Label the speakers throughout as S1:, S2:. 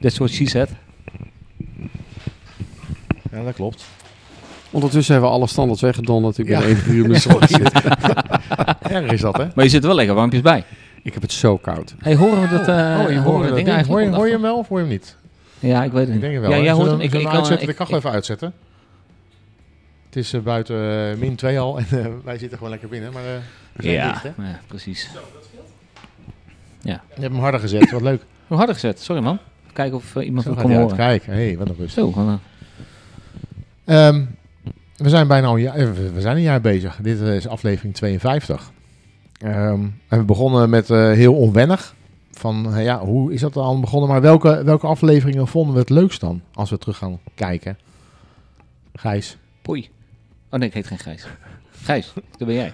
S1: That's what she said.
S2: Ja, dat klopt.
S3: Ondertussen hebben we alle standaard weggedonderd. Ik ben
S2: Ja.
S3: de enige die in mijn zon zit.
S2: Erg is dat, hè?
S1: Maar je zit wel lekker warmpjes bij.
S3: Ik heb het zo koud.
S1: Hey, horen we dat?
S2: Oh,
S1: eh
S2: je
S1: horen we
S2: hoort
S1: dat
S2: het ding.
S1: ding
S2: Hoor je,
S1: eigenlijk?
S2: hoor je hem wel of hoor je hem niet?
S1: Ja, ik weet het niet.
S2: Ik denk het wel.
S1: Ja,
S2: hè?
S1: jij hoort
S2: Zullen
S1: hem.
S2: we
S1: Ik, ik,
S2: hem
S1: kan-
S2: uitzetten?
S1: ik-
S2: de kachel
S1: ik-
S2: even uitzetten. Het is eh, buiten eh, min 2 al en eh, wij zitten gewoon lekker binnen. Maar eh, we zijn
S1: Ja,
S2: dicht, hè?
S1: ja, precies.
S2: Je hebt hem harder gezet, wat leuk.
S1: Hoe harder gezet? Sorry man. Even kijken of eh, iemand
S2: Zo
S1: hem
S2: gaat
S1: kon
S2: hij
S1: horen.
S2: uit. Kijk, hé, hey, wat een rust.
S1: Zo, van, eh,
S2: Ehm, we zijn bijna al een jaar, eh, we we zijn een jaar bezig. Dit eh, is aflevering 52. Ehm, en we begonnen met eh, heel onwennig. Van eh, ja, hoe is dat al begonnen? Maar welke, welke afleveringen vonden we het leukst dan? Als we terug gaan kijken. Gijs,
S1: poei. Oh nee, ik heet geen Gijs. Gijs, dat ben jij.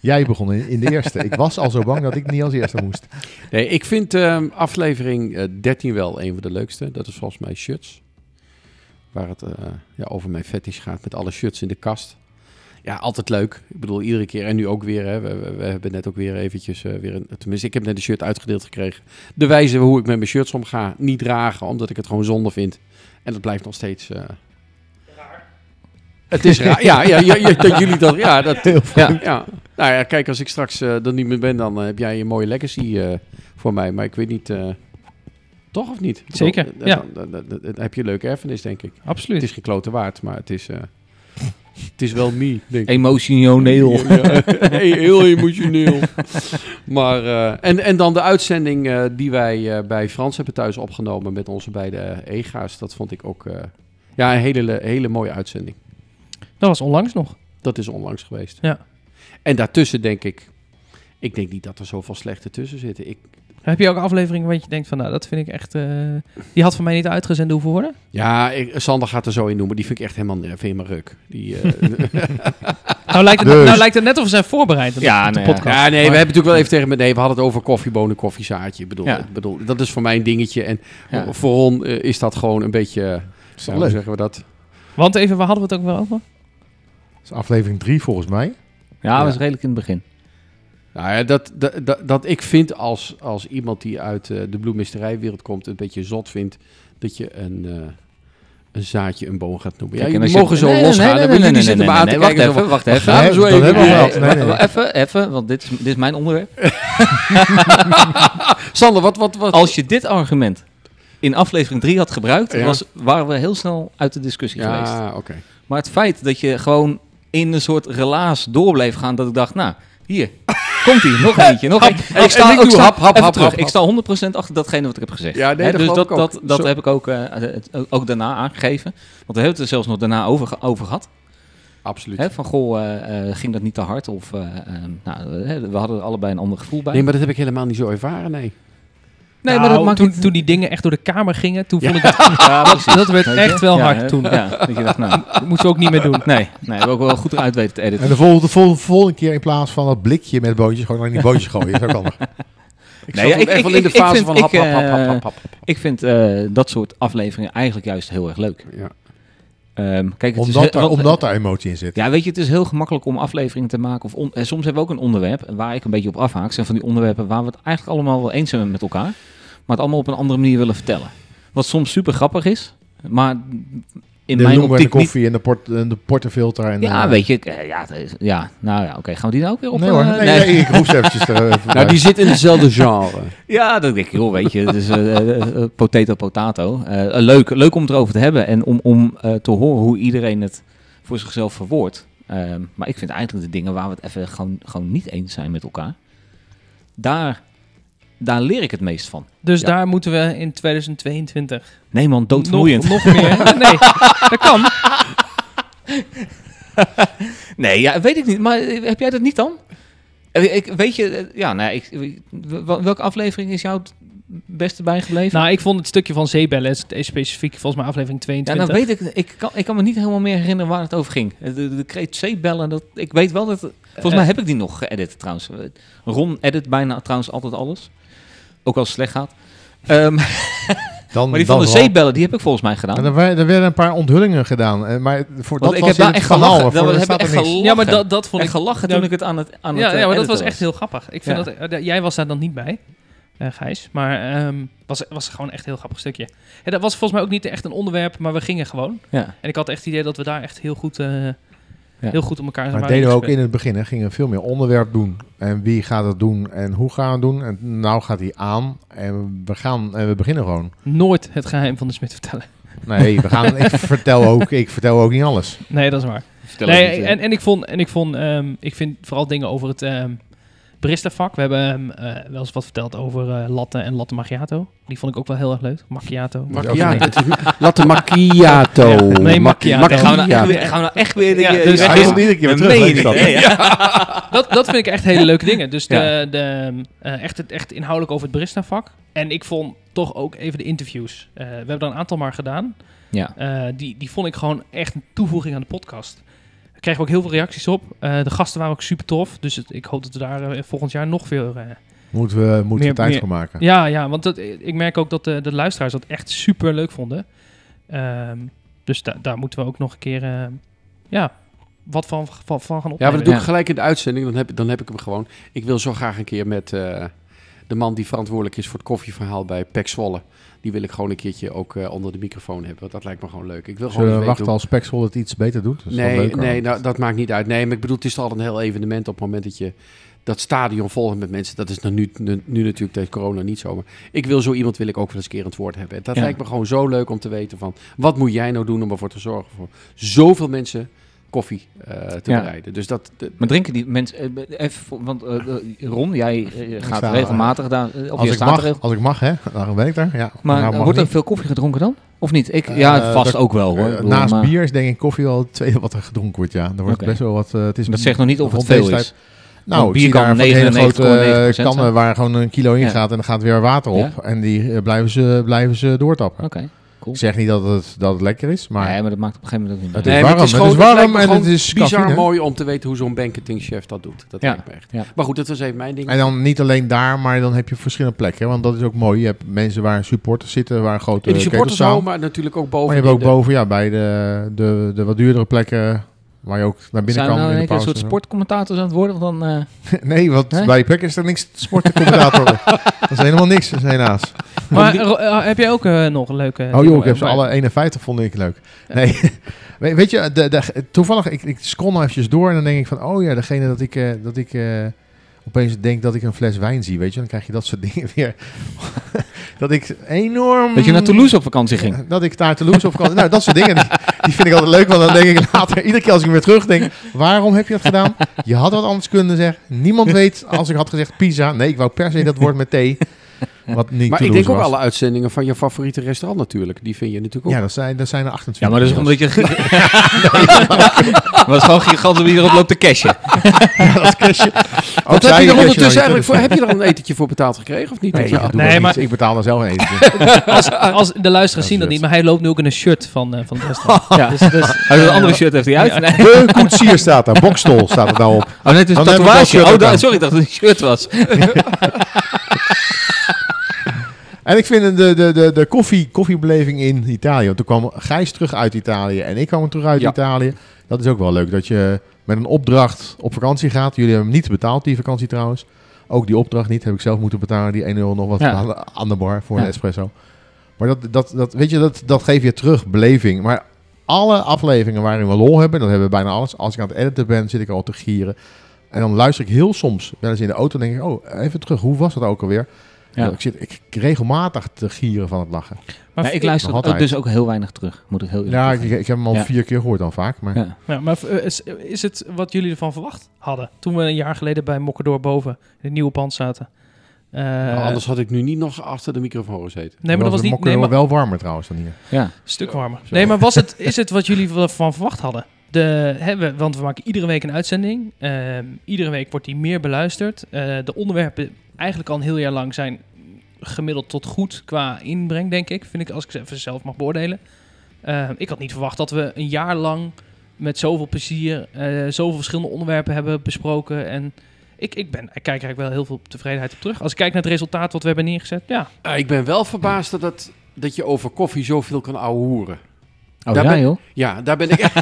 S2: jij begon in, in de eerste. ik was al zo bang dat ik niet als eerste moest.
S3: Nee, ik vind ehm, aflevering eh, 13 wel een van de leukste. Dat is volgens mij shirts. Waar het eh, ja, over mijn fetish gaat met alle shirts in de kast. Ja, altijd leuk. Ik bedoel, iedere keer en nu ook weer. Hè, we, we- we hebben net ook weer eventjes eh, weer een... Tenminste, ik heb net een shirt uitgedeeld gekregen. De wijze hoe ik met mijn shirts omga. Niet dragen, omdat ik het gewoon zonde vind. En dat blijft nog steeds... eh, Het is raar. Ja, ja, ja, ja, dat jullie dat... Ja, dat, ja, ja. Nou ja, kijk, als ik straks eh er niet meer ben, dan eh, heb jij een mooie legacy eh, voor mij. Maar ik weet niet... eh, toch of niet? Ik bedoel,
S4: Zeker,
S3: eh,
S4: ja.
S3: Dan, dan- dan- dan- dan heb je een leuke erfenis, denk ik.
S4: Absoluut.
S3: Het is geen klote waard, maar het is... eh, het is wel me, denk ik.
S1: Emotioneel.
S3: Ja, heel emotioneel. Maar, eh, en, en dan de uitzending eh, die wij eh, bij Frans hebben thuis opgenomen met onze beide ega's. Dat vond ik ook eh, ja, een hele, le- hele mooie uitzending.
S4: Dat was onlangs nog.
S3: Dat is onlangs geweest.
S4: Ja.
S3: En daartussen denk ik, ik denk niet dat er zoveel slechte tussen zitten. Ik,
S4: Heb je ook afleveringen waar je denkt van, nou, dat vind ik echt... eh, die had voor mij niet uitgezenden hoeven worden.
S3: ja, ik, Sander gaat er zo in noemen. Die vind ik echt helemaal, eh, vind ik maar ruk. Die, eh,
S4: Nou lijkt het,
S2: Dus.
S4: nou lijkt het net of we zijn voorbereid op
S1: Ja,
S4: op de
S1: nou ja.
S4: podcast.
S3: Ja, nee, we
S4: Maar-
S3: hebben natuurlijk wel even tegen me. Nee, we hadden het over koffiebonen, koffiezaadje. Ik bedoel,
S1: Ja.
S3: ik bedoel, dat is voor mij een dingetje. En
S1: Ja.
S3: voor Ron eh, is dat gewoon een beetje. eh,
S2: Is
S3: ja, hoe zeggen we dat?
S4: Want even, waar hadden we het ook wel over?
S2: is aflevering 3 volgens mij.
S1: Ja, dat was redelijk in het begin.
S3: Nou ja, dat, dat, dat, dat ik vind als, als iemand die uit eh, de bloemisterijwereld komt, een beetje zot vindt dat je een. eh, een zaadje een boom gaat noemen. Ja,
S1: Kijk, en als
S3: jullie
S1: je-
S3: mogen zo
S1: Nee, nee,
S3: losgaan.
S1: nee,
S3: hè,
S1: nee,
S3: want
S1: nee,
S3: jullie
S1: nee,
S3: zitten me
S1: nee,
S3: aan
S1: nee,
S3: te
S1: wacht
S3: kijken.
S1: even,
S3: zo-
S1: wacht even.
S3: Gaan we zo
S2: Dat
S3: even.
S2: hebben we
S3: Ja,
S2: wel.
S3: ja.
S2: Nee, nee, nee.
S1: Even, even, want dit is, dit is mijn onderwerp.
S3: Sander, wat, wat, wat?
S1: Als je dit argument in aflevering 3 had gebruikt,
S3: Ja.
S1: was, waren we heel snel uit de discussie geweest.
S3: ja, oké.
S1: Maar het feit dat je gewoon in een soort relaas door bleef gaan, dat ik dacht, nou, hier, komt ie, nog eentje, nog eentje. En
S3: en
S1: ik sta,
S3: ik
S1: ik
S3: doe
S1: sta,
S3: hap, hap,
S1: even
S3: hap,
S1: terug,
S3: hap,
S1: ik sta 100% achter datgene wat ik heb gezegd.
S3: Ja, nee,
S1: Hè, dus
S3: dat geloof
S1: dat,
S3: ik ook.
S1: dat, dat
S3: Zo-
S1: heb ik ook, eh, het- ook daarna aangegeven. Want we hebben het er zelfs nog daarna over, ge- over gehad.
S3: Absoluut.
S1: Hè, van, goh, eh, eh, ging dat niet te hard? Of, eh, eh, nou, hè, we hadden er allebei een ander gevoel bij.
S3: Nee, maar dat heb ik helemaal niet zo ervaren, nee.
S1: Nee,
S4: Nou,
S1: maakt
S4: toen,
S1: niet-
S4: toen die dingen echt door de kamer gingen, toen vond ik dat...
S1: Ja, precies.
S4: Dat werd
S1: Weet je?
S4: echt wel
S1: Ja,
S4: hard
S1: hè,
S4: toen.
S1: Ja, dat je dacht, nou,
S4: Dat moeten we ook niet meer doen.
S1: nee, nee, we hebben ook wel goed eruit weten te editen.
S2: En de volgende, vol- volgende keer in plaats van dat blikje met bootjes, gewoon naar die bootjes gooien. Is ook handig.
S3: Ik
S1: Nee,
S3: zat
S1: ja,
S3: toen
S1: ik-
S3: echt
S1: ik-
S3: wel in de
S1: ik- ik
S3: fase
S1: vind-
S3: van hap,
S1: ik,
S3: hap, hap, hap,
S1: eh,
S3: hap, hap, hap.
S1: Ik vind eh, dat soort afleveringen eigenlijk juist heel erg leuk.
S3: Ja.
S1: Ehm, kijk, het is
S2: Omdat,
S1: heel-
S2: daar,
S1: want-
S2: omdat daar emotie in zit.
S1: Ja, weet je, het is heel gemakkelijk om afleveringen te maken. Of on- eh, soms hebben we ook een onderwerp waar ik een beetje op afhaak. Zijn van die onderwerpen waar we het eigenlijk allemaal wel eens zijn met elkaar. Maar het allemaal op een andere manier willen vertellen. Wat soms super grappig is, maar in
S2: de
S1: mijn
S2: noemer en de
S1: optiek niet.
S2: koffie en de, port, en de porterfilter. En,
S1: Ja,
S2: eh,
S1: weet je, eh, ja, het is- ja, nou ja, oké, gaan we die nou ook weer op?
S2: Nee hoor,
S1: eh,
S2: nee, nee, ik roep ze eventjes er eh, even bij.
S3: Nou, die zit in hetzelfde genre.
S1: Ja, dat denk ik, joh, weet je, het is eh, eh, eh, potato, potato. Eh, eh, leuk, leuk om het erover te hebben en om, om eh, te horen hoe iedereen het voor zichzelf verwoordt. Ehm, maar ik vind eigenlijk de dingen waar we het even gewoon, gewoon niet eens zijn met elkaar, daar, daar leer ik het meest van.
S4: Dus
S3: Ja.
S4: daar moeten we in 2022
S1: Nee man, doodvermoeiend.
S4: nog, nog meer... Nee, dat kan.
S1: Nee, ja, weet ik niet, maar eh, heb jij dat niet dan? Eh, Ik, weet je, eh, ja, nou, ja, ik, w- w- welke aflevering is jou t- beste bijgebleven?
S4: Nou, ik vond het stukje van zeebellen is- is specifiek volgens mij aflevering
S1: ja,
S4: 22.
S1: nou weet ik, ik kan, ik kan me niet helemaal meer herinneren waar het over ging. De, de kreet zeebellen, dat, ik weet wel dat... Volgens
S4: Eh.
S1: mij heb ik die nog geëdit trouwens. Ron edit bijna trouwens altijd alles. Ook als het slecht gaat. Ehm,
S2: Dan,
S1: maar die
S2: dan
S1: van de
S2: wel.
S1: zeebellen, die heb ik volgens mij
S2: En
S1: gedaan.
S2: er, wa- er werden een paar onthullingen gedaan. eh, Maar voor dat
S1: ik
S2: was
S1: heb
S2: in
S1: daar
S2: het
S1: echt
S2: kanaal. voor
S1: gelachen. Daar
S2: de
S1: heb ik
S2: staat er
S1: echt
S2: niks.
S1: gelachen.
S4: ja, maar dat, dat vond
S1: En
S4: ik...
S1: gelachen
S4: ja,
S1: toen ik het aan het aan
S4: ja,
S1: het, eh,
S4: ja, maar dat
S1: editen
S4: was echt heel grappig. Ik vind
S1: Ja.
S4: dat, eh, jij was daar dan niet bij, eh, Gijs. Maar ehm was, was gewoon echt een heel grappig stukje. En dat was volgens mij ook niet echt een onderwerp, maar we gingen gewoon.
S1: Ja.
S4: En ik had echt het idee dat we daar echt heel goed, eh,
S1: Ja.
S4: heel goed op elkaar
S2: Maar
S4: zijn.
S2: dat deden we ook in het begin. Hè, gingen we veel meer onderwerp doen. En wie gaat het doen en hoe gaan we het doen. En nou gaat hij aan. En we, gaan, en we beginnen gewoon.
S4: Nooit het geheim van de Smit vertellen.
S2: Nee, we gaan, ik, vertel ook, ik vertel ook niet alles.
S4: Nee, dat is waar.
S1: Vertel
S4: Nee,
S1: het niet, eh.
S4: en, en ik vond, en ik, vond ehm, ik vind vooral dingen over het ehm baristavak. We hebben ehm, eh, wel eens wat verteld over eh latte en latte macchiato. Die vond ik ook wel heel erg leuk. Macchiato.
S3: Macchiato. Het is- Latte macchiato.
S4: Ja, nee,
S3: Macchi-
S4: macchiato.
S1: Gaan we nou echt
S4: Ja.
S1: weer, gaan we nou echt weer... die-
S4: Ja,
S1: die-
S4: dus-
S1: die-
S4: Hij
S1: die-
S4: komt
S2: iedere keer weer
S1: Dat
S2: terug,
S1: meen
S2: weet
S1: je
S2: je
S1: niet,
S2: dat?
S1: hè? Ja.
S4: Dat, dat vind ik echt hele leuke dingen. Dus de,
S1: Ja.
S4: de, ehm, eh, echt, het- echt inhoudelijk over het baristavak. En ik vond toch ook even de interviews. Eh, we hebben er een aantal maar gedaan.
S1: Ja.
S4: Eh, die, die vond ik gewoon echt een toevoeging aan de podcast. Daar kregen we ook heel veel reacties op. Eh, de gasten waren ook super tof. Dus het- ik hoop dat we daar eh, volgend jaar nog veel... eh,
S2: Moeten we, moeten
S4: Meer-
S2: we tijd
S4: meer-
S2: voor maken.
S4: Ja, ja, want dat, eh, ik merk ook dat de, de luisteraars dat echt super leuk vonden. Ehm, dus da- daar moeten we ook nog een keer ehm, ja, wat van, van, van gaan
S3: Ja,
S4: opnemen.
S3: maar dat doe ik
S1: Ja.
S3: gelijk in de uitzending. Dan heb, dan heb ik hem gewoon. Ik wil zo graag een keer met eh, de man die verantwoordelijk is voor het koffieverhaal bij Pek Zwolle. Die wil ik gewoon een keertje ook eh, onder de microfoon hebben. Want dat lijkt me gewoon leuk. Ik wil gewoon
S2: Zullen we
S3: eens weten
S2: wachten
S3: hoe-
S2: als Pexel het iets beter doet? Dat is wel
S3: Nee,
S2: leuker.
S3: nee nou, dat maakt niet uit. Nee, maar ik bedoel, het is toch al een heel evenement op het moment dat je dat stadion volgt met mensen. Dat is nou nu, nu, nu natuurlijk tegen corona niet zo. Maar ik wil zo iemand wil ik ook wel eens een keer het woord hebben. En dat
S1: Ja.
S3: lijkt me gewoon zo leuk om te weten van... wat moet jij nou doen om ervoor te zorgen voor zoveel mensen koffie eh, te
S1: Ja.
S3: bereiden. Dus dat... de-
S1: Maar drinken die mensen... eh, Even, voor- want eh, eh, Ron, jij eh, gaat
S2: sta-
S1: regelmatig daar... eh, Of
S2: Als
S1: je
S2: ik,
S1: staat er
S2: mag,
S1: regel-
S2: als ik mag, hè? Daarom ben ik daar. Ja,
S1: Maar
S2: nou
S1: eh,
S2: mag
S1: wordt er
S2: niet.
S1: veel koffie gedronken dan? Of niet? Ik,
S2: Eh,
S1: ja, vast
S2: dat-
S1: ook wel hoor. Ik
S2: Eh,
S1: bedoel,
S2: naast
S1: maar
S2: bier is denk ik koffie al het tweede wat er gedronken wordt. Ja, er wordt
S1: Oké.
S2: best wel wat. eh, het is
S1: Dat zegt nog niet of het
S2: rond deze
S1: veel
S2: tijd-
S1: is.
S2: Nou,
S1: Want
S2: ik
S1: bier
S2: zie
S1: kan
S2: daar van die hele
S1: 99,9%
S2: grote eh,
S1: zijn.
S2: kannen waar gewoon een kilo in
S1: Ja.
S2: gaat en dan gaat weer water op.
S1: Ja.
S2: En die eh, blijven ze, blijven ze doortappen.
S1: Oké, cool.
S2: Ik zeg niet dat het, dat het lekker is, maar
S1: nee, maar dat maakt op een gegeven moment ook niet
S2: Het
S1: uit.
S2: is
S3: maar
S2: warm, het is
S3: gewoon-
S2: warm
S3: lijkt me
S2: en
S3: gewoon
S2: het is
S3: bizar
S2: cafeïne.
S3: mooi om te weten hoe zo'n banketingchef dat doet. Dat
S1: Ja.
S3: lijkt me echt.
S1: Ja.
S3: Maar goed, dat was even mijn ding.
S2: En dan niet alleen daar, maar dan heb je verschillende plekken. hè, Want dat is ook mooi. Je hebt mensen waar supporters zitten, waar een grote
S3: in die supporters
S2: ketelzaal.
S3: al, maar natuurlijk ook boven.
S2: Maar je hebt
S3: in
S2: ook
S3: de-
S2: boven, ja, bij de, de, de wat duurdere plekken waar je ook naar binnen
S1: Zijn we
S2: kan.
S1: nou
S2: in
S1: in
S2: de
S1: één keer een
S2: pauze
S1: soort sportcommentators aan het worden? Dan, eh,
S2: en zo. Nee, want
S1: Nee?
S2: bij die plekken is er niks sportcommentator. dat is helemaal niks, dus helaas.
S4: Maar eh, Ro- eh, heb jij ook eh, nog een leuke...
S2: Oh
S4: dingen
S2: joh, ik heb ze
S4: bij-
S2: alle 51 vond ik leuk.
S4: Ja.
S2: Nee, We- weet je, de, de, toevallig, ik, ik scroll nou eventjes door en dan denk ik van, oh ja, degene dat ik, eh, dat ik eh, opeens denk dat ik een fles wijn zie, weet je, dan krijg je dat soort dingen weer. dat ik enorm...
S1: dat je naar Toulouse op vakantie ging.
S2: Eh, Dat ik daar Toulouse op kan. Nou, dat soort dingen, die, die vind ik altijd leuk, want dan denk ik later, iedere keer als ik weer terugdenk, waarom heb je dat gedaan? Je had wat anders kunnen zeggen. Niemand weet, als ik had gezegd pizza, nee, ik wou per se dat woord met thee, wat niet
S3: Maar ik
S2: Toulouse
S3: denk ook
S2: was.
S3: alle uitzendingen van je favoriete restaurant natuurlijk. Die vind je natuurlijk ook.
S2: Ja, dat zijn, dat zijn er 28.
S1: Ja, maar dat is omdat je... maar dat is gewoon gigantisch wie erop loopt te cashen.
S2: Oh,
S3: Wat heb je er ondertussen eigenlijk voor?
S2: voor?
S3: Heb je er een etentje voor betaald gekregen of niet?
S2: Nee,
S3: Dat je-
S2: ik,
S4: Nee,
S2: nee,
S4: maar-
S2: ik betaal daar zelf een etentje.
S4: Als, eh, als de luisteraars zien dat
S2: zit.
S4: niet, maar hij loopt nu ook in een shirt van, eh, van het restaurant.
S1: Ja.
S4: Dus, dus,
S1: Hij doet een andere shirt heeft hij uit. Nee.
S2: De koetsier staat daar, Bokstol staat er nou op.
S1: Oh nee, het is een
S2: Dan heb ik wel
S1: tatoeage.
S2: shirt
S1: Oh,
S2: ook
S1: da-
S2: aan.
S1: sorry, ik dacht dat het een shirt was.
S2: En ik vind de, de, de, de koffie, koffiebeleving in Italië. Want toen kwam Gijs terug uit Italië en ik kwam terug uit
S3: Ja.
S2: Italië. Dat is ook wel leuk, dat je met een opdracht op vakantie gaat. Jullie hebben hem niet betaald, die vakantie trouwens. Ook die opdracht niet, heb ik zelf moeten betalen. Die 1 euro nog wat
S1: Ja.
S2: aan, de- aan de bar voor
S1: Ja.
S2: een espresso. Maar dat, dat, dat, weet je, dat, dat geef je terug, beleving. Maar alle afleveringen waarin we lol hebben, dat hebben we bijna alles. Als ik aan het editen ben, zit ik al te gieren. En dan luister ik heel soms, wel eens in de auto, denk ik, oh, even terug, hoe was dat ook alweer?
S1: Ja.
S2: Ja. Ik zit ik, regelmatig te gieren van het lachen.
S4: maar
S1: Nee, ik luister
S2: Nog
S1: ook-
S2: altijd.
S1: dus ook heel weinig terug. Moet ik heel eerlijk
S2: Ja, ik,
S1: zeggen.
S2: ik heb hem al
S1: Ja.
S2: vier keer gehoord dan vaak. Maar
S1: Ja.
S4: ja, maar eh, is, is het wat jullie ervan verwacht hadden? Toen we een jaar geleden bij Mokkerdoor boven in het nieuwe pand zaten. Eh,
S3: Nou, anders had ik nu niet nog achter de microfoon gezeten.
S4: nee, maar dat was niet... Nee,
S2: wel-
S4: maar,
S2: wel warmer trouwens dan hier.
S1: Ja.
S4: Stuk warmer. Nee, maar was het, is het wat jullie ervan verwacht hadden? De, hè, we- want we maken iedere week een uitzending. Ehm, iedere week wordt die meer beluisterd. Eh, de onderwerpen eigenlijk al een heel jaar lang zijn gemiddeld tot goed qua inbreng, denk ik. Vind ik, als ik ze even zelf mag beoordelen. Eh, ik had niet verwacht dat we een jaar lang met zoveel plezier eh, zoveel verschillende onderwerpen hebben besproken. En ik, ik, ben, ik kijk eigenlijk wel heel veel tevredenheid op terug. Als ik kijk naar het resultaat wat we hebben neergezet, ja.
S3: Ah, ik ben wel verbaasd dat, dat, dat je over koffie zoveel kan ouwehoeren.
S1: Oh
S3: Daar
S1: ja,
S3: ben-
S1: joh.
S3: Ja, daar ben ik echt.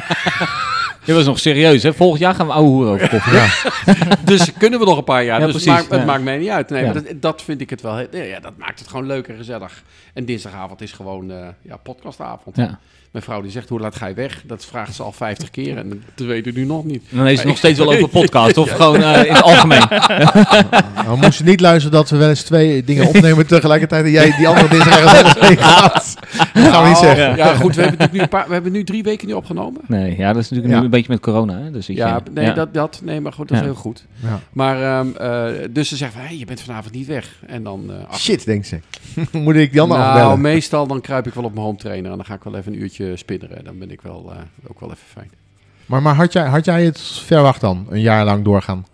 S1: Dit was nog serieus, hè? Volgend jaar gaan we ouwe hoeren over koffie. Ja.
S3: Dus kunnen we nog een paar jaar.
S1: Ja,
S3: dus het
S1: precies,
S3: maakt- het
S1: ja.
S3: maakt mij niet uit. Nee,
S1: Ja.
S3: maar dat, dat vind ik het wel. heel- Ja, dat maakt het gewoon leuk en gezellig. En dinsdagavond is gewoon eh, ja, podcastavond.
S1: Ja.
S3: Mijn vrouw die zegt, hoe laat ga je weg? Dat vraagt ze al 50 keer en dat weet ik nu nog niet.
S1: Dan is het
S3: Nee.
S1: nog steeds wel over podcast, of gewoon eh, in het algemeen.
S2: Nou, we moesten niet luisteren dat we wel eens twee dingen opnemen tegelijkertijd en jij die andere dinsdag ergens anders heen gaat. Dat gaan we niet
S3: Oh,
S2: zeggen.
S3: Ja, goed, we hebben, natuurlijk nu een paar, we hebben nu drie weken nu opgenomen.
S1: Nee, ja, dat is natuurlijk
S2: Ja.
S1: nu een beetje met corona, hè? Dus ik,
S3: Ja,
S1: eh,
S3: nee,
S1: ja.
S3: Dat, dat, nee, maar goed, dat is
S1: Ja.
S3: heel goed.
S2: Ja.
S3: Maar, ehm, eh, dus ze zegt, van, hey, je bent vanavond niet weg. En dan... eh, ach,
S2: Shit, denkt ze. Moet ik die andere
S3: nou,
S2: afbellen?
S3: meestal dan kruip ik wel op mijn home trainer en dan ga ik wel even een uurtje spinneren. Dan ben ik wel, eh, ook wel even fijn.
S2: Maar, maar had, jij, had jij het verwacht dan, een jaar lang doorgaan?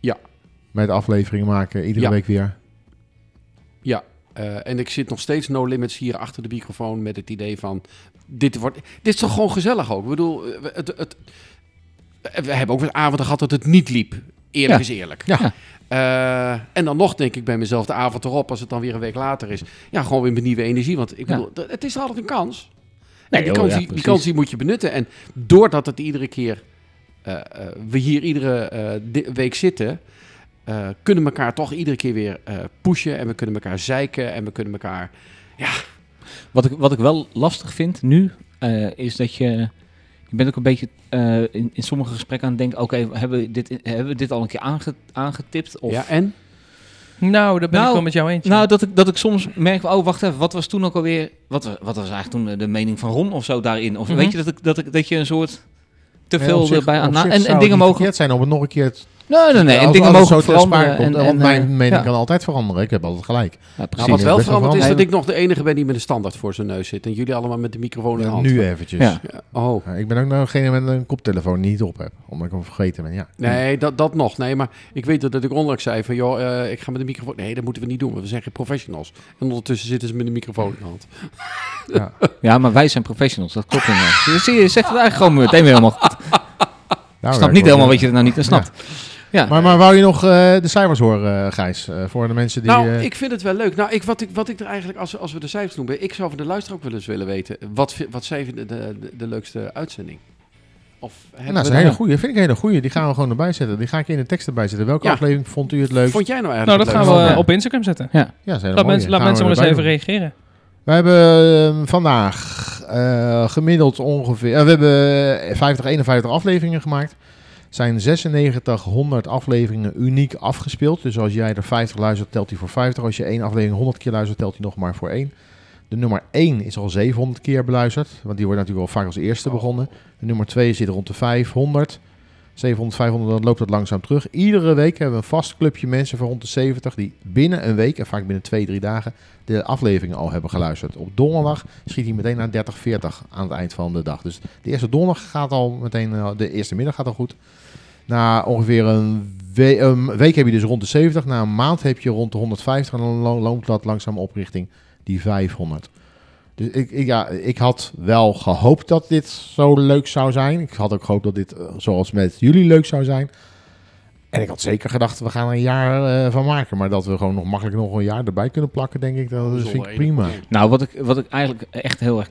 S3: Ja.
S2: Met afleveringen maken, iedere
S3: Ja.
S2: week weer.
S3: Eh, en ik zit nog steeds no limits hier achter de microfoon met het idee van... Dit, wordt, dit is toch gewoon gezellig ook? Ik bedoel, eh, we- het, het, we hebben ook wel avonden gehad dat het niet liep. Eerlijk
S1: Ja.
S3: is eerlijk.
S2: Ja.
S1: Ja.
S3: Eh, en dan nog denk ik bij mezelf de avond erop, als het dan weer een week later is. Ja, gewoon weer met nieuwe energie. Want ik
S1: Ja.
S3: bedoel, d- het is er altijd een kans.
S1: Nee,
S3: en die,
S1: joh,
S3: kans
S1: ja,
S3: die, die
S1: precies.
S3: kans die moet je benutten. En doordat het iedere keer, eh, eh, we hier iedere eh, di- week zitten, eh, kunnen we elkaar toch iedere keer weer eh, pushen. En we kunnen elkaar zeiken en we kunnen elkaar...
S1: Wat, ik, wat ik wel lastig vind nu, eh, is dat je... Je bent ook een beetje eh, in, in sommige gesprekken aan het denken... Oké, hebben, we dit, hebben we dit al een keer aange- aangetipt? Of,
S3: Ja, en?
S4: Nou, daar ben
S1: Nou,
S4: ik wel met jou eentje.
S1: Nou, dat ik, dat ik soms merk, oh wacht even, wat was toen ook alweer, wat, wa- wat was eigenlijk toen eh, de mening van Ron of zo daarin? Of
S4: Mhm.
S1: weet je dat, ik, dat, ik, dat je een soort te
S2: Nee,
S1: veel
S2: op zich-
S1: erbij aan
S2: op
S1: na-
S2: zich
S1: en,
S2: zou
S1: en
S2: het
S1: dingen
S2: niet
S1: mogen. Nou,
S2: verkeerd zijn om het nog een keer te
S1: Nee, nee, nee. En
S2: als-
S1: dingen
S2: als het
S1: mogen
S2: zo ter sprake
S1: veranderen.
S2: komt.
S1: En, en,
S2: want mijn
S1: eh,
S2: mening
S1: ja.
S2: kan altijd veranderen. Ik heb altijd gelijk.
S1: Ja,
S3: Nou,
S1: precies.
S3: wat wel
S2: best wel
S3: veranderd is dat
S2: veranderd.
S3: ik nog de enige ben die met een standaard voor zijn neus zit. En jullie allemaal met de microfoon in de hand.
S2: nu eventjes.
S1: Ja.
S3: Oh,
S2: Ja, Ik ben ook nog degene met een koptelefoon die niet op heb. Omdat ik hem vergeten ben, ja.
S3: nee, dat, dat nog. Nee, maar ik weet dat, dat ik onlangs zei van, joh, eh, ik ga met de microfoon... Nee, dat moeten we niet doen, want we zijn geen professionals. En ondertussen zitten ze met de microfoon in de hand.
S2: ja.
S1: Ja, maar wij zijn professionals, dat klopt inderdaad. Dus zie je, je zegt het eigenlijk gewoon meteen weer helemaal. goed. Ik
S2: Daar
S1: snap
S2: werken
S1: niet
S2: we
S1: helemaal
S2: voor.
S1: wat je er nou niet aan snapt. Ja.
S2: Maar, maar wou je nog eh, de cijfers horen, eh, Gijs? Eh, voor de mensen die...
S3: nou,
S2: eh,
S3: ik vind het wel leuk. Nou, ik, wat, ik, wat ik er eigenlijk, als, als we de cijfers noemen, ik zou van de luisteraar ook wel eens willen weten. Wat, vi- wat zij vinden de, de, de leukste uitzending? Of hebben
S2: nou, dat is
S3: we
S2: een
S3: daar-
S2: hele goeie. Vind ik een hele goeie. Die gaan we gewoon erbij zetten. Die ga ik in de tekst erbij zetten. Welke
S3: Ja.
S2: aflevering vond u het leukst?
S3: Vond jij nou
S4: nou,
S3: eigenlijk
S4: dat gaan
S3: het
S4: we
S3: leukste?
S4: eh,
S1: Ja.
S4: op Instagram zetten.
S2: Ja, dat is een hele
S4: Laat,
S2: mooie.
S4: mensen, laat
S2: Gaan we
S4: mensen wel eens
S2: erbij
S4: even
S2: doen.
S4: reageren.
S2: We hebben eh, vandaag eh, gemiddeld ongeveer... eh, we hebben 50, 51 afleveringen gemaakt. Er zijn 96, 100 afleveringen uniek afgespeeld. Dus als jij er 50 luistert, telt hij voor 50. Als je één aflevering 100 keer luistert, telt hij nog maar voor één. De nummer 1 is al 700 keer beluisterd. Want die wordt natuurlijk wel vaak als eerste begonnen. De nummer 2 zit rond de 500. 700, 500, dan loopt dat langzaam terug. Iedere week hebben we een vast clubje mensen van rond de 70... die binnen een week, en vaak binnen twee, drie dagen de afleveringen al hebben geluisterd. Op donderdag schiet hij meteen naar 30, 40 aan het eind van de dag. Dus de eerste donderdag gaat al meteen, eh, de eerste middag gaat al goed. Na ongeveer een, we- een week heb je dus rond de 70. Na een maand heb je rond de 150. En dan lo- loopt dat langzaam op richting die 500. Dus ik, ik, ja, ik had wel gehoopt dat dit zo leuk zou zijn. Ik had ook gehoopt dat dit eh, zoals met jullie leuk zou zijn. En ik had zeker gedacht, we gaan er een jaar eh, van maken. Maar dat we gewoon nog makkelijk nog een jaar erbij kunnen plakken, denk ik. Dat,
S3: Zonder
S2: vind ik
S3: enig
S2: prima.
S3: probleem.
S1: Nou, wat ik, wat ik eigenlijk echt heel erg.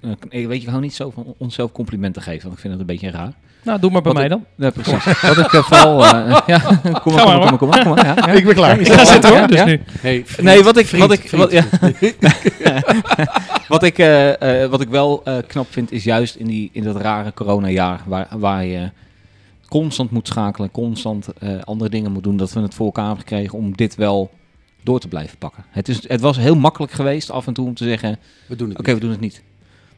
S1: eh, Ik weet je, ik hou niet zo van onszelf complimenten geven, want ik vind dat een beetje raar.
S4: Nou, doe maar bij
S1: Wat
S4: mij
S1: ik-
S4: dan.
S1: Ja, precies. Wat ik eh, vooral... eh, ja, kom maar, kom maar, kom maar, kom maar. kom maar, ja, ja.
S2: Ik ben klaar.
S4: Ik ga zitten hoor,
S1: Ja,
S4: dus
S1: ja.
S4: nu.
S3: Hey,
S1: Nee, wat ik, wat ik,
S3: vriend,
S1: wat, ja. wat, ik eh, eh, wat ik wel eh, knap vind, is juist in, die, in dat rare coronajaar, waar, waar je constant moet schakelen, constant eh, andere dingen moet doen, dat we het voor elkaar hebben gekregen om dit wel door te blijven pakken. Het, is, het was heel makkelijk geweest af en toe om te zeggen,
S3: we doen het.
S1: Oké, we doen het niet.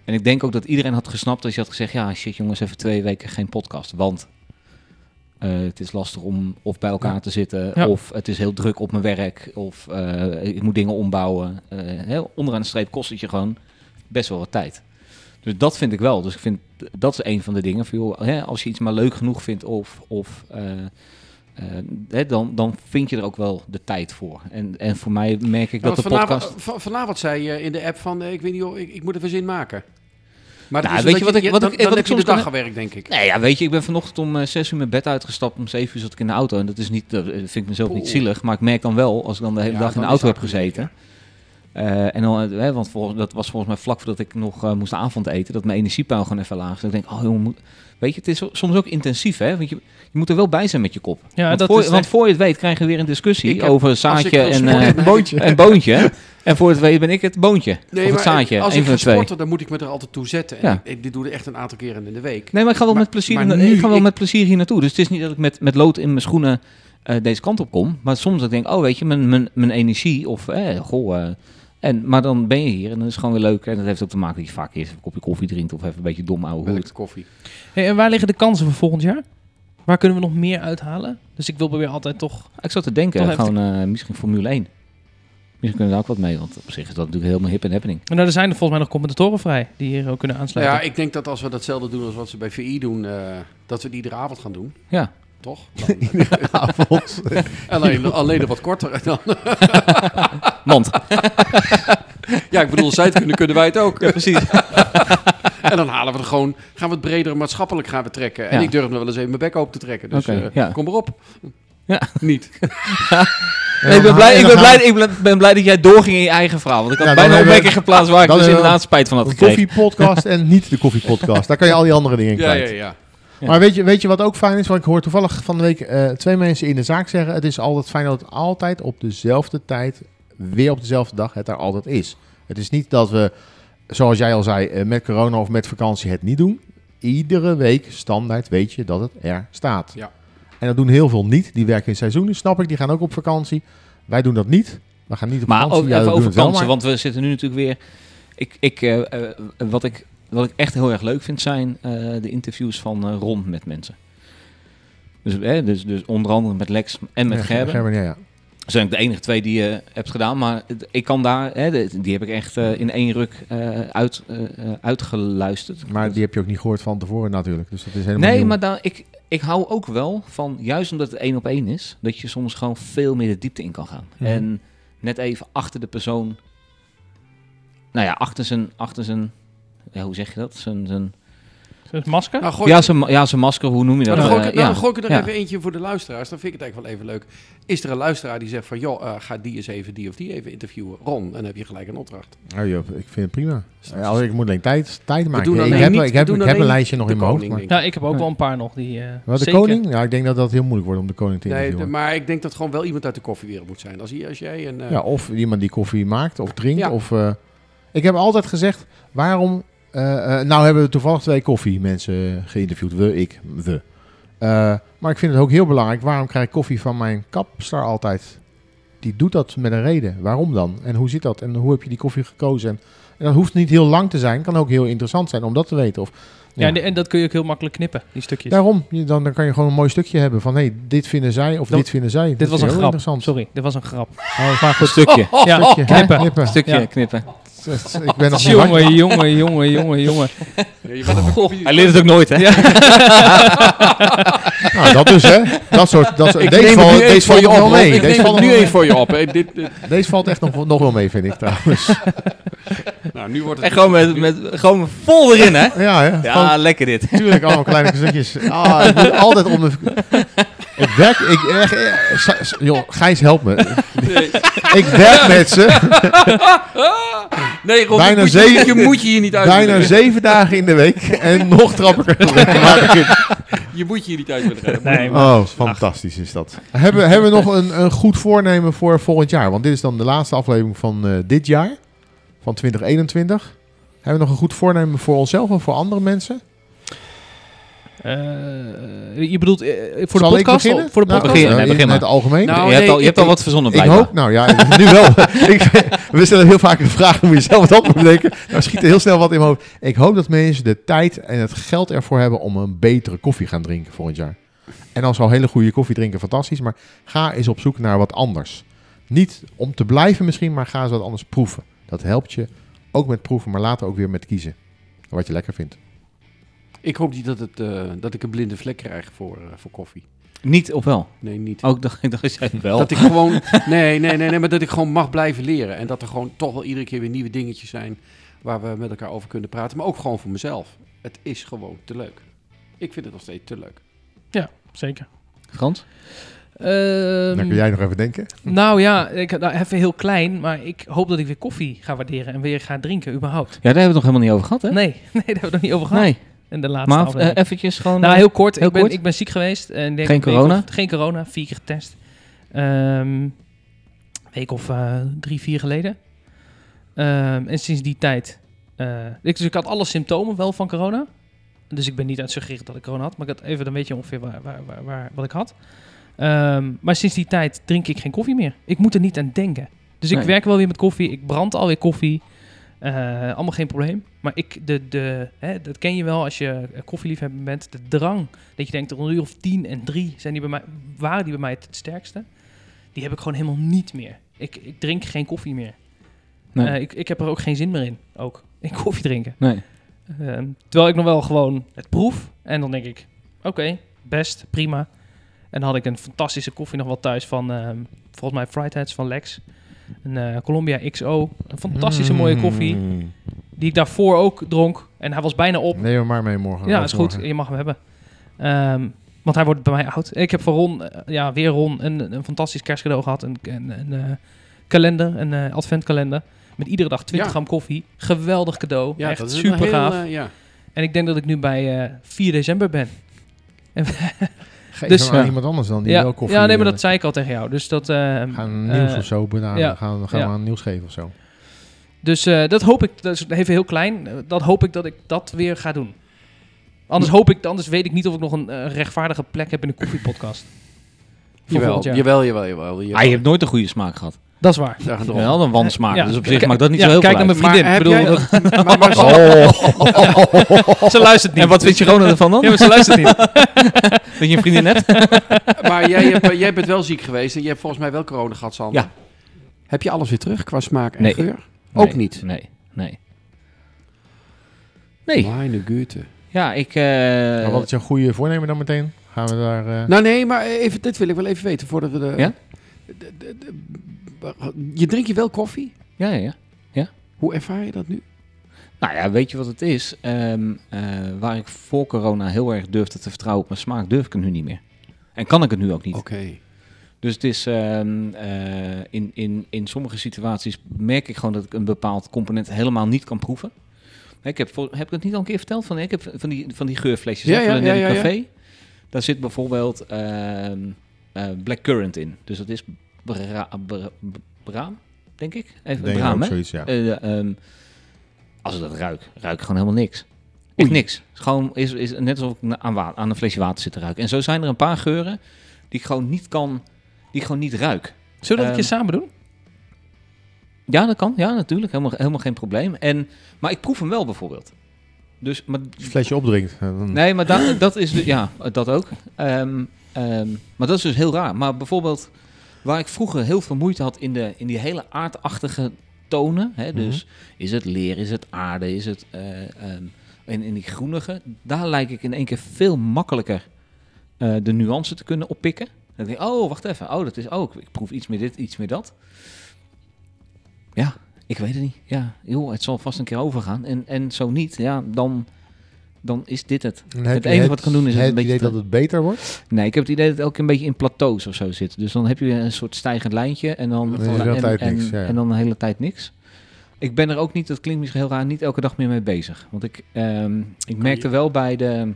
S1: En ik denk ook dat iedereen had gesnapt als je had gezegd: ja, shit, jongens, even twee weken geen podcast. Want eh, het is lastig om of bij elkaar
S2: Ja.
S1: te zitten,
S4: Ja.
S1: of het is heel druk op mijn werk, of eh, ik moet dingen ombouwen. Eh, hè, onderaan de streep kost het je gewoon best wel wat tijd. Dus dat vind ik wel. Dus ik vind dat is een van de dingen. Van, joh, hè, als je iets maar leuk genoeg vindt, of, of eh, eh, hè, dan, dan vind je er ook wel de tijd voor. En, en voor mij merk ik
S3: Ja,
S1: dat
S3: want
S1: de
S3: vanavond,
S1: podcast...
S3: van- vanavond zei je in de app van, eh, ik weet niet, joh, ik, ik moet er weer zin maken. Maar
S1: Nou,
S3: het is
S1: weet
S3: een
S1: je
S3: beetje-
S1: wat ik- wat
S3: dan,
S1: ik-
S3: dan
S1: wat
S3: heb
S1: ik
S3: je
S1: soms
S3: de dag
S1: kan-
S3: gewerkt, denk ik.
S1: Nee, ja, weet je, ik ben vanochtend om eh, zes uur mijn bed uitgestapt. Om zeven uur zat ik in de auto. En dat is niet, dat eh, vind ik mezelf niet
S3: Poeh.
S1: zielig. Maar ik merk dan wel, als ik dan de hele
S3: Ja,
S1: dag in
S3: dan
S1: de
S3: is
S1: auto
S3: dat
S1: heb gezeten. eh, en dan, eh, hè, want volgens, dat was volgens mij vlak voordat ik nog eh, moest avondeten. Dat mijn energiepeil gewoon even laag is. Dat Ik denk, oh joh, moet- weet je, het is zo- soms ook intensief, hè? Want je, je moet er wel bij zijn met je kop.
S4: Ja,
S1: want,
S4: dat
S1: voor,
S4: is
S1: want
S4: echt-
S1: voor je het weet krijgen we weer een discussie
S3: Ik heb-
S1: over
S3: Als ik
S1: zaadje
S3: wil
S1: en,
S3: sporten,
S1: eh,
S3: dan-
S1: en boontje. en voor het weet ben ik het boontje.
S3: Nee,
S1: of het
S3: maar
S1: zaadje,
S3: Als
S1: een van
S3: ik ga
S1: de twee.
S3: sporten, dan moet ik me er altijd toe zetten. En
S1: Ja.
S3: ik, ik doe er echt een aantal keren in de week.
S1: Nee, maar ik ga wel,
S3: Maar-
S1: met, plezier,
S3: maar
S1: ik
S3: nu-
S1: ga wel
S3: ik-
S1: met plezier hier naartoe. Dus het is niet dat ik met, met lood in mijn schoenen eh, deze kant op kom. Maar soms dat ik denk, oh weet je, mijn, mijn, mijn energie of eh, goh. eh, en, maar dan ben je hier en dan is het gewoon weer leuk. En dat heeft ook te maken dat je vaak eerst even een kopje koffie drinkt of even een beetje dom ouwe hoed.
S3: Melk, koffie.
S4: Hey, en waar liggen de kansen voor volgend jaar? Waar kunnen we nog meer uithalen? Dus ik wil weer altijd toch...
S1: Ik zat te denken,
S4: Toch even-
S1: gewoon eh, misschien Formule 1. Misschien kunnen we daar ook wat mee, want op zich is dat natuurlijk helemaal hip en happening.
S4: Nou, er zijn er volgens mij nog commentatoren vrij die hier ook kunnen
S3: Nou
S4: aansluiten.
S3: ja, ik denk dat als we datzelfde doen als wat ze bij VI doen, eh, dat we het iedere avond gaan doen.
S1: Ja,
S3: Toch? Dan- alleen, alleen nog wat korter. Dan.
S1: want.
S3: Ja, ik bedoel, als zij het kunnen, kunnen wij het ook.
S1: precies.
S3: En dan halen we er gewoon, gaan we het breder maatschappelijk gaan we trekken. En
S1: Ja.
S3: ik durf nog wel eens even mijn bek open te trekken. Dus
S1: Oké,
S3: eh,
S1: ja.
S3: kom erop.
S1: Ja.
S3: Niet.
S1: Nee, ik ben
S2: En
S1: blij,
S2: dan
S1: ik ben,
S2: gaan we-
S1: blij, ik ben, ben blij dat jij doorging in je eigen verhaal. Want ik had
S2: Ja, dan
S1: bijna een
S2: hebben-
S1: opmerking geplaatst waar ik
S2: dan
S1: dus
S2: hebben we-
S1: inderdaad spijt van had
S2: Een
S1: gekregen.
S2: koffiepodcast en niet de koffiepodcast. Daar kan je al die andere dingen in
S3: Ja,
S2: kwijt.
S3: ja, ja.
S1: Ja.
S2: Maar weet je, weet je wat ook fijn is? Want ik hoor toevallig van de week eh, twee mensen in de zaak zeggen... het is altijd fijn dat het altijd op dezelfde tijd... weer op dezelfde dag het daar altijd is. Het is niet dat we, zoals jij al zei... eh, met corona of met vakantie het niet doen. Iedere week standaard weet je dat het er staat.
S3: Ja.
S2: En dat doen heel veel niet. Die werken in seizoenen, snap ik. Die gaan ook op vakantie. Wij doen dat niet. We gaan niet op
S1: Maar
S2: vakantie.
S1: ook
S2: Ja, we
S1: Oh,
S2: doen
S1: even over
S2: het wel,
S1: kansen,
S2: maar-
S1: want we zitten nu natuurlijk weer... Ik, ik, eh, eh, wat, ik, wat ik echt heel erg leuk vind zijn eh, de interviews van eh Ron met mensen. Dus, eh, dus, dus onder andere met Lex en met
S2: Ja,
S1: Gerben.
S2: Gerben, ja, ja.
S1: Dat zijn ook de enige twee die je hebt gedaan. Maar het- ik kan daar... eh, de- die heb ik echt eh, in één ruk eh, uit, eh, eh, uitgeluisterd.
S3: Dus-
S2: Maar die heb je ook niet gehoord van tevoren natuurlijk. Dus dat is helemaal
S1: Nee,
S2: nieuw.
S1: maar daar, ik, ik hou ook wel van, juist omdat het één op één is, dat je soms gewoon veel meer de diepte in kan gaan.
S4: Mhm.
S1: En net even achter de persoon, nou ja, achter zijn, achter zijn ja, hoe zeg je dat? Zijn, zijn,
S4: Het Dus masker?
S3: Nou, gooi,
S1: ja, zijn, ma- ja, zijn masker, hoe noem je
S3: maar
S1: dat?
S3: dan, gooi ik,
S1: Eh,
S3: nou,
S1: ja.
S3: dan gooi ik er
S1: ja.
S3: even eentje voor de luisteraars. Dan vind ik het eigenlijk wel even leuk. Is er een luisteraar die zegt van, joh, eh, ga die eens even, die of die even interviewen. Ron, en dan heb je gelijk een opdracht.
S2: Oh, joh, ik vind het prima. Ja, als ik moet alleen tijd, tijd maken.
S3: doen
S2: Ik
S3: alleen
S2: heb,
S3: niet-
S2: ik
S3: we
S2: heb,
S3: doen
S2: ik heb een
S3: alleen
S2: lijstje nog
S3: de
S2: in mijn hoofd.
S3: koning,
S2: maar-
S3: denk ik.
S4: Ja, ik heb ook wel een paar nog die... eh,
S2: Wat, de
S4: zeker-
S2: koning? Ja, ik denk dat dat heel moeilijk wordt om de koning te
S3: Nee,
S2: interviewen.
S3: de- maar ik denk dat gewoon wel iemand uit de koffiewereld moet zijn. Als, hier- als jij een... eh,
S2: ja, of iemand die koffie maakt of drinkt.
S3: Ja.
S2: Of, eh, ik heb altijd gezegd, waarom... eh, eh, nou hebben we toevallig twee koffiemensen geïnterviewd. We, ik, we. Eh, maar ik vind het ook heel belangrijk. Waarom krijg ik koffie van mijn kapster altijd? Die doet dat met een reden. Waarom dan? En hoe zit dat? En hoe heb je die koffie gekozen? En, en dat hoeft niet heel lang te zijn. Kan ook heel interessant zijn om dat te weten. Of,
S4: Ja, en- en dat kun je ook heel makkelijk knippen, die stukjes.
S2: Daarom, je- dan, dan kan je gewoon een mooi stukje hebben van hey, dit vinden zij of
S4: Dat-
S2: dit vinden zij.
S4: Dit was een grap.
S2: interessant.
S4: Sorry, dit was een grap.
S2: Oh, maar
S1: Een
S2: goed,
S1: stukje,
S4: ja,
S2: stukje, hè?
S4: knippen.
S2: knippen.
S1: stukje
S4: Ja.
S1: knippen.
S2: Ik ben nog niet lang.
S4: oh, Jongen, jongen, jongen, jongen, jongen.
S3: ja, je bent een koffie-
S1: Hij leert het ook nooit, hè? Ja,
S2: Nou, dat dus hè. Dat soort, dat soort,
S3: Ik
S2: deze
S3: neem
S2: valt,
S3: het nu
S2: deze
S3: even voor
S2: valt
S3: je
S2: nog wel
S3: op.
S2: mee.
S3: Ik
S2: Deze
S3: neem
S2: valt, nog
S3: het nu
S2: wel-
S3: even voor je op. hè. Dit, dit-
S2: deze valt echt nog, nog wel mee, vind ik trouwens.
S3: nou, nu wordt het...
S1: en gewoon, met, met, gewoon vol erin, hè?
S2: Ja, hè.
S1: Ja,
S2: Gewoon,
S1: lekker dit.
S2: natuurlijk allemaal kleine stukjes. Ah, ik moet altijd om de... Ik werk, ik echt, eh, sa- sa- joh, Gijs help me. Ik werk met ze,
S3: Nee, Ron,
S2: Bijna
S3: je, moet je-
S2: zeven-
S3: je moet je hier niet uit.
S2: bijna zeven dagen in de week en nog trap ik er regelmatig in.
S3: Je moet je hier niet uit willen rijden.
S4: Nee, maar-
S2: Oh, fantastisch is dat. Hebben, hebben we nog een, een goed voornemen voor volgend jaar? Want dit is dan de laatste aflevering van eh, dit jaar, van 2021. Hebben we nog een goed voornemen voor onszelf en voor andere mensen?
S4: Eh, je bedoelt eh, voor, de
S2: Zal ik
S4: podcast,
S2: beginnen?
S4: voor de
S2: Nou,
S4: podcast?
S1: Begin, nee,
S2: in
S1: begin maar.
S2: het algemeen.
S3: Nou,
S1: je hebt
S3: nee,
S1: al, je hebt
S3: ik-
S1: al wat verzonnen,
S2: ik
S1: blijkbaar.
S2: hoop, nou ja, nu wel. ik, we stellen heel vaak een vraag om jezelf het antwoord te bedenken. Nou schiet er heel snel wat in mijn hoofd. Ik hoop dat mensen de tijd en het geld ervoor hebben om een betere koffie gaan drinken volgend jaar. En als ze al hele goede koffie drinken, fantastisch. Maar ga eens op zoek naar wat anders. Niet om te blijven misschien, maar ga eens wat anders proeven. Dat helpt je ook met proeven, maar later ook weer met kiezen. Wat je lekker vindt.
S3: Ik hoop niet dat, het, eh, dat ik een blinde vlek krijg voor, eh, voor koffie.
S1: Niet of wel?
S3: Nee, niet.
S1: Ook dacht ik dat jij Oh, wel.
S3: Dat ik gewoon. Nee, nee, nee, nee, maar dat ik gewoon mag blijven leren. En dat er gewoon toch wel iedere keer weer nieuwe dingetjes zijn waar we met elkaar over kunnen praten. Maar ook gewoon voor mezelf. Het is gewoon te leuk. Ik vind het nog steeds te leuk.
S4: Zeker.
S1: Frans?
S4: Ehm,
S2: Dan kun jij nog even denken.
S4: Nou ja, ik, nou, even heel klein, maar ik hoop dat ik weer koffie ga waarderen en weer ga drinken überhaupt.
S1: Ja, daar hebben we het nog helemaal niet over gehad, hè?
S4: Nee, nee, daar hebben we het nog niet over gehad.
S1: Nee,
S4: En de laatste
S1: maar
S4: aflevering.
S1: eh, eventjes gewoon...
S4: nou, heel kort.
S1: heel
S4: ik, ben,
S1: kort.
S4: ik ben ziek geweest. En ik denk
S1: Geen
S4: een week
S1: corona?
S4: of- geen corona, vier keer getest. Ehm week of eh, drie, vier geleden. Ehm, en sinds die tijd... eh, ik, dus ik had alle symptomen wel van corona. Dus ik ben niet aan het suggereren dat ik corona had. Maar ik had even een beetje ongeveer waar, waar, waar, waar- wat ik had. Ehm, maar sinds die tijd drink ik geen koffie meer. Ik moet er niet aan denken. Dus ik
S1: Nee.
S4: werk wel weer met koffie. Ik brand alweer koffie. Eh, allemaal geen probleem. Maar ik, de, de, hè, dat ken je wel als je eh, koffieliefhebber bent. De drang. Dat je denkt, rond een uur of tien en drie zijn die bij mij, waren die bij mij het sterkste. Die heb ik gewoon helemaal niet meer. Ik, ik drink geen koffie meer.
S1: Nee.
S4: Eh, ik, ik heb er ook geen zin meer in. Ook. In koffie drinken.
S1: Nee.
S4: Ehm, terwijl ik nog wel gewoon het proef. En dan denk ik, oké, best, prima. En dan had ik een fantastische koffie nog wel thuis van, ehm, volgens mij, Frightheads van Lex. Een eh, Colombia XO. Een fantastische mooie koffie.
S2: Mm.
S4: Die ik daarvoor ook dronk. En hij was bijna op.
S2: Neem hem maar mee morgen.
S4: Ja, is goed.
S2: Morgen.
S4: Je mag hem hebben. Ehm, want hij wordt bij mij oud. Ik heb van Ron, eh, ja, weer Ron, een, een fantastisch kerstcadeau gehad. Een, een, een eh, kalender, een eh, adventkalender. Met iedere dag 20
S3: Ja.
S4: gram koffie. Geweldig cadeau.
S3: Ja,
S4: Echt
S3: is een
S4: super
S3: heel,
S4: gaaf.
S3: eh, ja.
S4: En ik denk dat ik nu bij eh, 4 december ben. En-
S2: Geef
S4: Dus-
S2: hem aan
S1: Ja.
S2: iemand anders dan die
S4: ja,
S2: wel koffie eh,
S4: ja, nee, maar
S2: wil.
S4: dat zei ik al tegen jou. Dus dat, ehm,
S2: Gaan nieuws
S4: eh,
S2: of zo benaderen.
S4: ja.
S2: Gaan, gaan
S4: Ja.
S2: we aan nieuws geven of zo.
S4: Dus eh, dat hoop ik, dat is even heel klein, eh, dat hoop ik dat ik dat weer ga doen. Anders, hoop ik, anders weet ik niet of ik nog een eh, rechtvaardige plek heb in de koffiepodcast. Voor
S3: Jawel,
S4: volgend jaar.
S3: jawel, jawel, jawel. jawel.
S1: Ah, je hebt nooit een goede smaak gehad.
S4: Dat is waar.
S3: Daar gaat het
S1: Je
S3: om.
S1: hebt wel een wansmaak,
S4: Ja.
S1: dus op zich
S4: Kijk-
S1: maakt dat niet
S4: ja,
S1: zo heel
S4: kijk
S1: veel
S4: naar
S1: uit.
S4: mijn vriendin.
S3: Maar
S4: Ik
S3: heb
S4: bedoel,
S3: jij- Maar-
S4: dat-
S3: maar-
S2: Oh.
S4: ze luistert niet.
S1: En wat vind je Rona ervan dan?
S4: Ja, maar ze luistert niet.
S1: Dat je een vriendin hebt?
S3: Maar jij, hebt, eh, jij bent wel ziek geweest en je hebt volgens mij wel corona gehad, Sander.
S1: Ja.
S3: Heb je alles weer terug qua smaak en
S1: Nee.
S3: geur? Ook niet.
S1: Nee, nee. Nee.
S3: Meine Güte.
S1: Ja, ik... eh,
S2: Maar Nou, wat is jouw goede voornemen dan meteen? Gaan we daar... eh,
S3: Nou nee, maar even, dit wil ik wel even weten voordat we de...
S1: Ja?
S3: de- de- de- je drink je wel koffie?
S1: Ja, ja, ja.
S3: Hoe ervaar je dat nu?
S1: Nou ja, weet je wat het is? Ehm, eh, waar ik voor corona heel erg durfde te vertrouwen op mijn smaak, durf ik het nu niet meer. En kan ik het nu ook niet. Dus het is ehm, eh, in, in, in sommige situaties merk ik gewoon dat ik een bepaald component helemaal niet kan proeven. Ik heb, vol- heb ik het niet al een keer verteld? Van, ik heb van die, van die geurflesjes
S3: Ja,
S1: hè,
S3: ja,
S1: van een
S3: ja,
S1: Nelly
S3: ja, ja.
S1: café. Daar zit bijvoorbeeld ehm eh blackcurrant in. Dus dat is bra- bra- braam, denk ik. Even
S2: denk ik
S1: braam,
S2: ook
S1: hè?
S2: zoiets, ja.
S1: Eh, ehm, als ik dat ruik, ruik ik gewoon helemaal niks. Is niks. Is gewoon is, is net alsof ik na- aan, wa- aan een flesje water zit te ruiken. En zo zijn er een paar geuren die ik gewoon niet kan, die ik gewoon niet ruik.
S4: Zullen we dat
S1: Ehm,
S4: een keer samen doen?
S1: Ja, dat kan. Ja, natuurlijk. Helemaal, helemaal geen probleem. En, maar ik proef hem wel bijvoorbeeld. Dus, maar,
S2: Als je een flesje opdrinkt. eh, dan-
S1: nee, maar da- dat is, de- ja, dat ook. Ehm, ehm, maar dat is dus heel raar. Maar bijvoorbeeld waar ik vroeger heel veel moeite had in, de, in die hele aardachtige tonen. Hè, dus is het leer, is het aarde, is het. eh, ehm, en in die groenige, daar lijk ik in één keer veel makkelijker eh, de nuance te kunnen oppikken. Dan denk ik, oh, wacht even. Oh, dat is ook. ik proef iets meer dit, iets meer dat. Ja, ik weet het niet. Ja, joh, het zal vast een keer overgaan. En, en zo niet, ja, dan, dan is dit het.
S2: Dan heb
S1: het
S2: je
S1: enige wat ik kan doen is
S2: het
S1: het een beetje
S2: idee
S1: te-
S2: dat het beter wordt.
S1: Nee, ik heb het idee dat het elke een beetje in plateaus of zo zit. Dus dan heb je weer een soort stijgend lijntje en dan,
S2: Dan is er de hele
S1: en,
S2: tijd
S1: en-
S2: niks, ja, ja.
S1: en dan de hele tijd niks. Ik ben er ook niet, dat klinkt misschien heel raar, niet elke dag meer mee bezig. Want ik, ehm, ik merkte wel bij de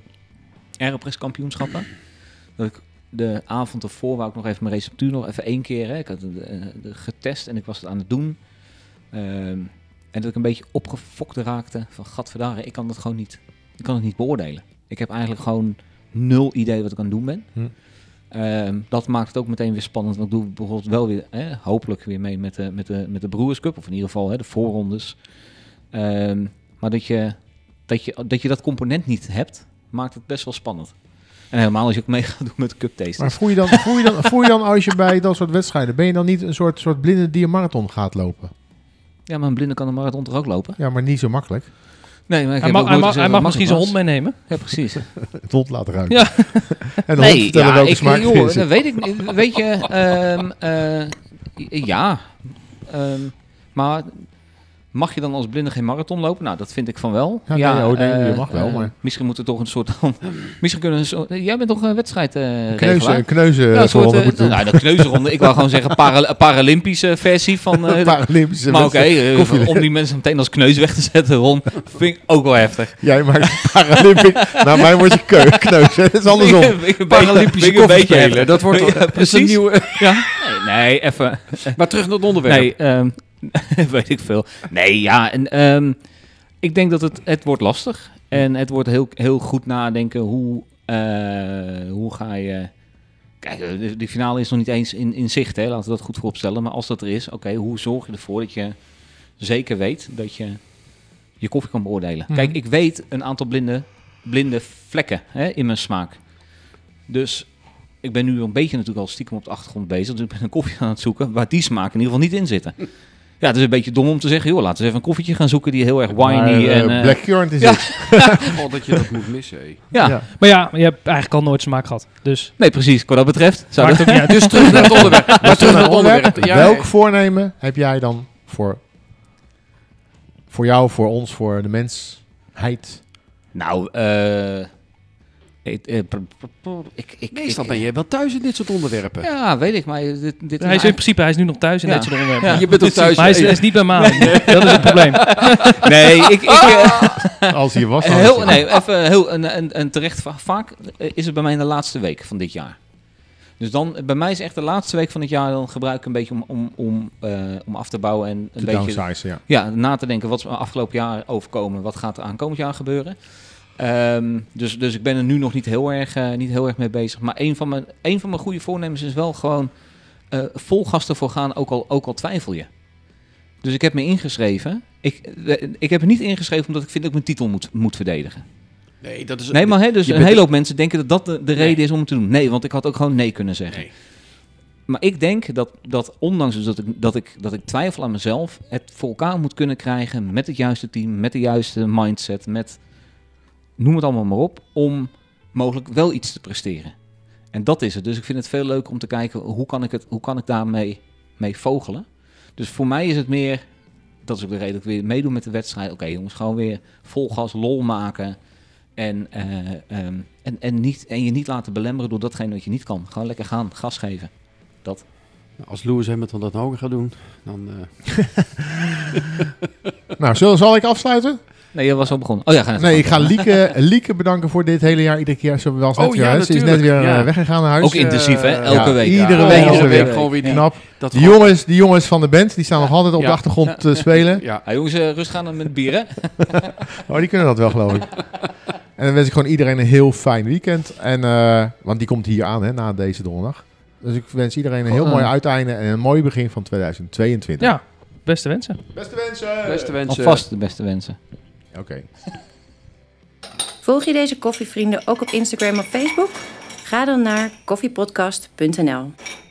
S1: Aeropress kampioenschappen dat ik de avond ervoor wou ik nog even mijn receptuur nog even één keer. Hè, ik had het, eh, de- getest en ik was het aan het doen. Ehm, en dat ik een beetje opgefokt raakte van gadverdare, ik kan dat gewoon niet. Ik kan het niet beoordelen. Ik heb eigenlijk gewoon nul idee wat ik aan het doen ben.
S2: Hm.
S1: Ehm, dat maakt het ook meteen weer spannend. Want ik doe bijvoorbeeld wel weer, hè, hopelijk weer mee met de, met, de, met de Brewers Cup. Of in ieder geval hè, de voorrondes. Ehm, maar dat je dat, je, dat je dat component niet hebt, maakt het best wel spannend. En helemaal als je ook mee gaat doen met de cup tastes.
S2: Maar voel je, dan, voel, je dan, voel je dan als je bij dat soort wedstrijden... ben je dan niet een soort, soort blinde die een marathon gaat lopen?
S1: Ja, maar een blinde kan een marathon toch ook lopen?
S2: Ja, maar niet zo makkelijk.
S1: Nee, maar ik
S4: Hij
S1: heb
S4: mag,
S1: ook
S4: hij
S1: nooit
S4: mag,
S1: gezegd
S4: hij
S1: dat
S4: mag misschien
S1: het
S4: zijn
S1: makkelijk was.
S4: hond meenemen.
S1: Ja, precies.
S2: Het hond laten ruiken.
S4: Ja.
S2: En dan
S1: Nee,
S2: vertellen
S1: ja,
S2: welke
S1: ik,
S2: smaak
S1: joh,
S2: het is.
S1: dat weet ik niet. Weet je, ehm, eh, ja. Ehm, maar mag je dan als blinde geen marathon lopen? Nou, dat vind ik van wel.
S2: Ja, nee, oh, nee, je
S1: eh,
S2: mag wel,
S1: eh,
S2: maar-
S1: misschien moet er toch een soort van... Misschien kunnen we een soort... Jij bent toch een wedstrijd eh regelaar?
S2: Kneuzen, kneuzen
S1: Ja, een soort,
S2: gewonnen
S1: eh,
S2: moeten doen.
S1: nou, de kneuzenronde. Ik wou gewoon zeggen para- Paralympische versie van... eh,
S2: Paralympische
S1: maar oké,
S2: wedstrijd.
S1: eh,
S2: koffie-
S1: om die mensen meteen als kneus weg te zetten, Ron, vind ik ook wel heftig.
S2: Jij maakt Paralympic. nou, mij wordt je keu, kneuzen. Het is andersom.
S1: Ik- ik-
S3: Paralympische
S1: vind ik een beetje heftig.
S3: koffiespelen. Dat wordt
S1: Ja,
S3: toch- dat is een
S1: precies.
S3: nieuwe...
S1: Ja? Nee, nee even.
S3: Maar terug naar het onderwerp.
S1: Nee, ehm, weet ik veel. Nee, ja. En, ehm, ik denk dat het, het wordt lastig. En het wordt heel, heel goed nadenken hoe, eh, hoe ga je... Kijk, eh, de, de finale is nog niet eens in, in zicht, hè. laten we dat goed vooropstellen. Maar als dat er is, oké, hoe zorg je ervoor dat je zeker weet dat je je koffie kan beoordelen?
S2: Mhm.
S1: Kijk, ik weet een aantal blinde, blinde vlekken hè, in mijn smaak. Dus ik ben nu een beetje natuurlijk al stiekem op de achtergrond bezig. Dus ik ben een koffie aan het zoeken waar die smaak in ieder geval niet in zitten. Ja, het is een beetje dom om te zeggen, joh, laten we even een koffietje gaan zoeken die heel erg whiny
S2: Maar, eh,
S1: en... eh,
S2: Blackcurrant is
S1: ja.
S2: het.
S3: God, Oh, dat je dat moet missen, hé.
S1: ja.
S2: Ja.
S4: Maar ja, je hebt eigenlijk al nooit smaak gehad. Dus
S1: nee precies. Wat dat betreft zou
S4: maakt
S1: dat...
S4: ook niet uit.
S3: Dus terug naar het onderwerp. Maar terug naar het onderwerp.
S2: Onderwerp.
S3: Ja,
S2: Welk voornemen heb jij dan voor, voor jou, voor ons, voor de mensheid?
S1: Nou, eh, ik, eh, pr- pr- pr- ik, ik...
S3: Meestal
S1: ik-
S3: ben je wel thuis in dit soort onderwerpen.
S1: Ja, weet ik, maar dit... dit
S4: Hij is in principe hij is nu nog thuis in
S1: Ja.
S4: dit soort onderwerpen.
S1: Ja.
S3: Je bent ook thuis.
S4: Maar hij is, hij is niet bij Maan. Dat is het probleem.
S1: Nee, ik... ik eh,
S2: Als hier was. dan is
S1: Heel,
S2: hij-
S1: nee, even heel, een, een, een terecht. va- Vaak eh, is het bij mij in de laatste week van dit jaar. Dus dan, eh, bij mij is echt de laatste week van het jaar, dan gebruik ik een beetje om, om, om, eh, om af te bouwen en een
S2: Te
S1: beetje
S2: downsizen, ja.
S1: ja, na te denken wat is me afgelopen jaar overkomen, wat gaat er aankomend jaar gebeuren. Ehm, dus, dus ik ben er nu nog niet heel erg, eh, niet heel erg mee bezig. Maar een van, mijn, een van mijn goede voornemens is wel gewoon eh vol gas ervoor gaan, ook al, ook al twijfel je. Dus ik heb me ingeschreven. Ik, eh, ik heb me niet ingeschreven omdat ik vind dat ik mijn titel moet, moet verdedigen.
S3: Nee, dat is...
S1: Nee, maar hè, dus
S3: Je
S1: een
S3: bent-
S1: hele hoop mensen denken dat dat de, de reden is om het te doen. Nee, want ik had ook gewoon nee kunnen zeggen.
S3: Nee.
S1: Maar ik denk dat, dat ondanks dus dat, ik, dat, ik, dat ik twijfel aan mezelf, het voor elkaar moet kunnen krijgen met het juiste team, met de juiste mindset, met noem het allemaal maar op, om mogelijk wel iets te presteren. En dat is het. Dus ik vind het veel leuker om te kijken hoe kan ik, het, hoe kan ik daarmee mee vogelen. Dus voor mij is het meer, dat is ook de reden dat ik weer meedoe met de wedstrijd. Oké jongens, gewoon weer vol gas lol maken. En, eh, ehm, en, en, niet, en je niet laten belemmeren door datgene wat je niet kan. Gewoon lekker gaan, gas geven.
S3: Als Lewis Hamilton dat nou ook gaat doen, dan... eh,
S2: Nou, zal, zal ik afsluiten?
S1: Nee, je was al begonnen. Oh ja, ga even
S2: Nee, ik ga
S1: verder.
S2: Lieke, eh, Lieke bedanken voor dit hele jaar. Iedere keer, zo wel eens
S3: Oh
S2: net weer,
S3: ja,
S2: hè. Ze is net
S3: natuurlijk,
S2: weer
S3: ja.
S2: eh, weggegaan naar huis.
S1: Ook intensief, hè? Elke
S2: eh, ja,
S1: week.
S2: iedere
S1: Ja.
S2: week
S1: Ja.
S2: iedere
S3: week gewoon weer die-
S2: Knap.
S3: dat
S2: Die jongens, die jongens van de band, die staan nog altijd op
S3: Ja.
S2: de achtergrond te spelen.
S3: Ja.
S1: Ja, jongens, eh, rustig aan met bier, hè?
S2: Oh, die kunnen dat wel, geloof ik. En dan wens ik gewoon iedereen een heel fijn weekend. En, eh, want die komt hier aan, hè, na deze donderdag. Dus ik wens iedereen een heel
S1: Oh, eh.
S2: mooi uiteinde en een mooi begin van 2022.
S4: Ja, beste wensen.
S2: Beste wensen!
S3: Beste wensen.
S1: Alvast de beste wensen.
S2: Oké.
S5: Volg je deze koffievrienden ook op Instagram of Facebook? Ga dan naar koffiepodcast.nl.